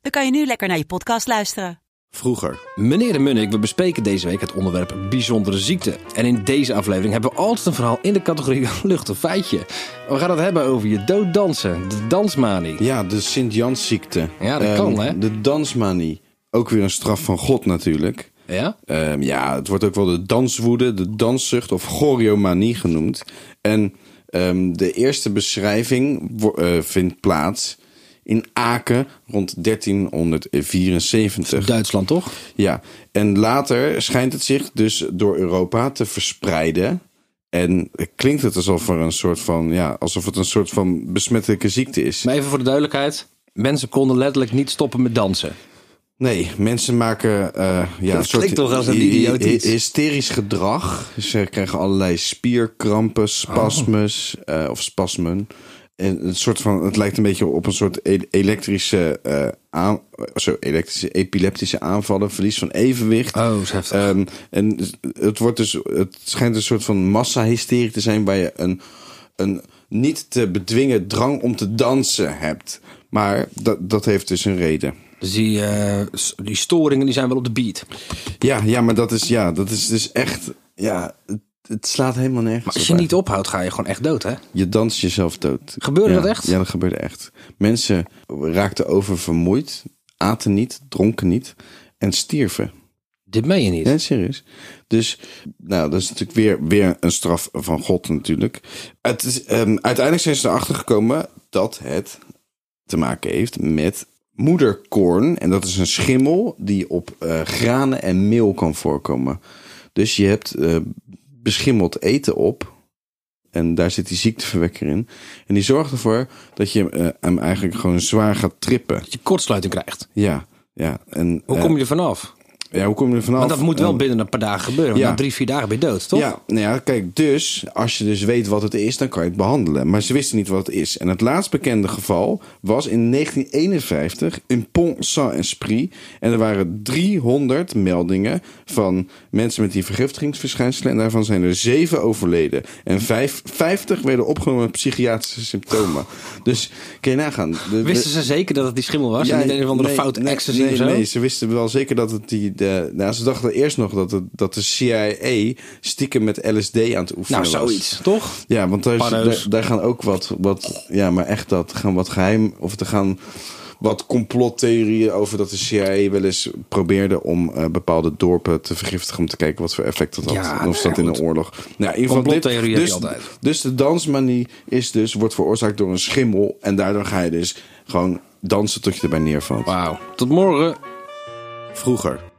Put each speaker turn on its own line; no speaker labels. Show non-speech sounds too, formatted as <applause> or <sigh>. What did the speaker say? dan kan je nu lekker naar je podcast luisteren.
Vroeger. Meneer de Munnik, we bespreken deze week het onderwerp bijzondere ziekte. En in deze aflevering hebben we altijd een verhaal in de categorie <laughs> lucht of feitje. We gaan het hebben over je dooddansen, de dansmanie.
Ja, de Sint-Jansziekte.
Ja, dat kan, hè?
De dansmanie. Ook weer een straf van God natuurlijk.
Ja?
Ehm, ja, het wordt ook wel de danswoede, de danszucht of choreomanie genoemd. En ehm, de eerste beschrijving wo- eh, vindt plaats in Aken rond 1374.
Duitsland toch?
Ja, en later schijnt het zich dus door Europa te verspreiden. En klinkt het alsof, er een soort van, ja, alsof het een soort van besmettelijke ziekte is.
Maar even voor de duidelijkheid. Mensen konden letterlijk niet stoppen met dansen.
Nee, mensen maken eh ja, een soort
klinkt toch als een idioot iets.
hysterisch gedrag. Ze krijgen allerlei
Oh.
spierkrampen, spasmes eh, of spasmen. En een soort van, het lijkt een beetje op een soort e- elektrische, eh aan, zo, elektrische, epileptische aanvallen, verlies van evenwicht.
Oh, dat is heftig.
Ehm, en het, wordt dus, het schijnt een soort van massahysterie te zijn waar je een, een niet te bedwingen drang om te dansen hebt. Maar dat, dat heeft dus een reden.
Dus die, eh, s- die storingen die zijn wel op de beat.
Ja, ja, maar dat is, ja, dat is dus echt. Ja, het, het slaat helemaal nergens.
Maar als
op
je niet
eigenlijk.
ophoudt, ga je gewoon echt dood, hè?
Je danst jezelf dood.
Gebeurde
Ja,
dat echt?
Ja, dat gebeurde echt. Mensen raakten oververmoeid, aten niet, dronken niet en stierven.
Dit meen je niet.
Nee, serieus. Dus, nou, dat is natuurlijk weer, weer een straf van God natuurlijk. Het is, ehm, uiteindelijk zijn ze erachter gekomen dat het te maken heeft met moederkorn. En dat is een schimmel die op eh, granen en meel kan voorkomen. Dus je hebt eh, beschimmeld eten op. En daar zit die ziekteverwekker in. En die zorgt ervoor dat je eh, hem eigenlijk gewoon zwaar gaat trippen.
Dat je kortsluiting krijgt.
Ja, ja. En,
Hoe kom je er vanaf?
eh, ja, hoe kom je er vanaf?
Want dat moet wel
Ehm,
binnen een paar dagen gebeuren. Want
ja.
na drie, vier dagen ben je dood, toch?
Ja, nou ja, kijk, dus als je dus weet wat het is, dan kan je het behandelen. Maar ze wisten niet wat het is. En het laatst bekende geval was in 1951 in Pont-Saint-Esprit. En er waren 300 meldingen van mensen met die vergiftigingsverschijnselen. En daarvan zijn er 7 overleden. En vijf, 50 werden opgenomen met psychiatrische symptomen. Dus kun je nagaan. De-
Wisten ze zeker dat het die schimmel was? en niet een of andere
nee,
foute
nee,
ecstasy
nee,
of zo?
Nee, ze wisten wel zeker dat het die... De, nou, ze dachten eerst nog dat, het, dat de CIA stiekem met LSD aan het oefenen
nou,
was.
zoiets, toch?
Ja, want daar, is-
Paddo's.
daar, daar gaan ook wat, wat... Ja, maar echt dat. Gaan wat geheim... Of er gaan wat complottheorieën over dat de CIA wel eens probeerde... om eh, bepaalde dorpen te vergiftigen... om te kijken wat voor effect dat had.
Ja,
en of dat
nou,
in
goed.
een oorlog... Nou, in ieder geval dit-
Complottheorieën heb je
dus,
altijd.
dus de dansmanie is dus, wordt veroorzaakt door een schimmel... en daardoor ga je dus gewoon dansen tot je erbij neervalt.
Wauw. Tot morgen.
Vroeger.